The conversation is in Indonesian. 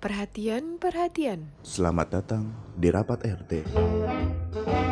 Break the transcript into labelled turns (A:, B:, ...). A: Perhatian, perhatian.
B: Selamat datang di rapat RT.